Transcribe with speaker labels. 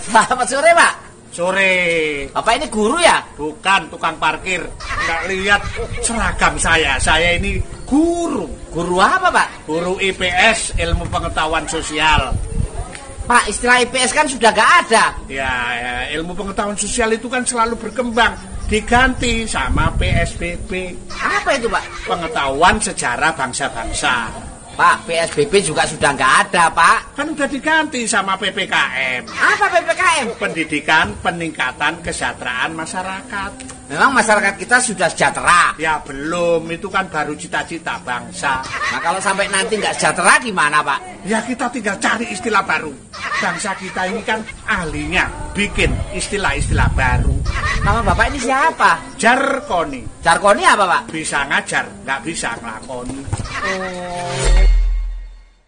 Speaker 1: Selamat sore, Pak.
Speaker 2: Sore.
Speaker 1: Bapak ini guru ya?
Speaker 2: Bukan tukang parkir. Nggak lihat seragam saya. Saya ini guru.
Speaker 1: Guru apa, Pak?
Speaker 2: Guru IPS, ilmu pengetahuan sosial.
Speaker 1: Pak, istilah IPS kan sudah gak ada.
Speaker 2: Ya, ya, ilmu pengetahuan sosial itu kan selalu berkembang. Diganti sama PSBB.
Speaker 1: Apa itu, Pak?
Speaker 2: Pengetahuan sejarah bangsa-bangsa.
Speaker 1: Pak, PSBB juga sudah gak ada, Pak.
Speaker 2: Kan udah diganti sama PPKM.
Speaker 1: Apa PPKM?
Speaker 2: Pendidikan peningkatan kesejahteraan masyarakat.
Speaker 1: Memang masyarakat kita sudah sejahtera.
Speaker 2: Ya belum, itu kan baru cita-cita bangsa.
Speaker 1: Nah, kalau sampai nanti nggak sejahtera gimana, Pak?
Speaker 2: Ya kita tinggal cari istilah baru. Bangsa kita ini kan ahlinya bikin istilah-istilah baru.
Speaker 1: Nama Bapak ini siapa?
Speaker 2: Jarkoni
Speaker 1: Jarkoni apa, Pak?
Speaker 2: bisa ngajar, nggak bisa ngelakoni.
Speaker 1: Oh.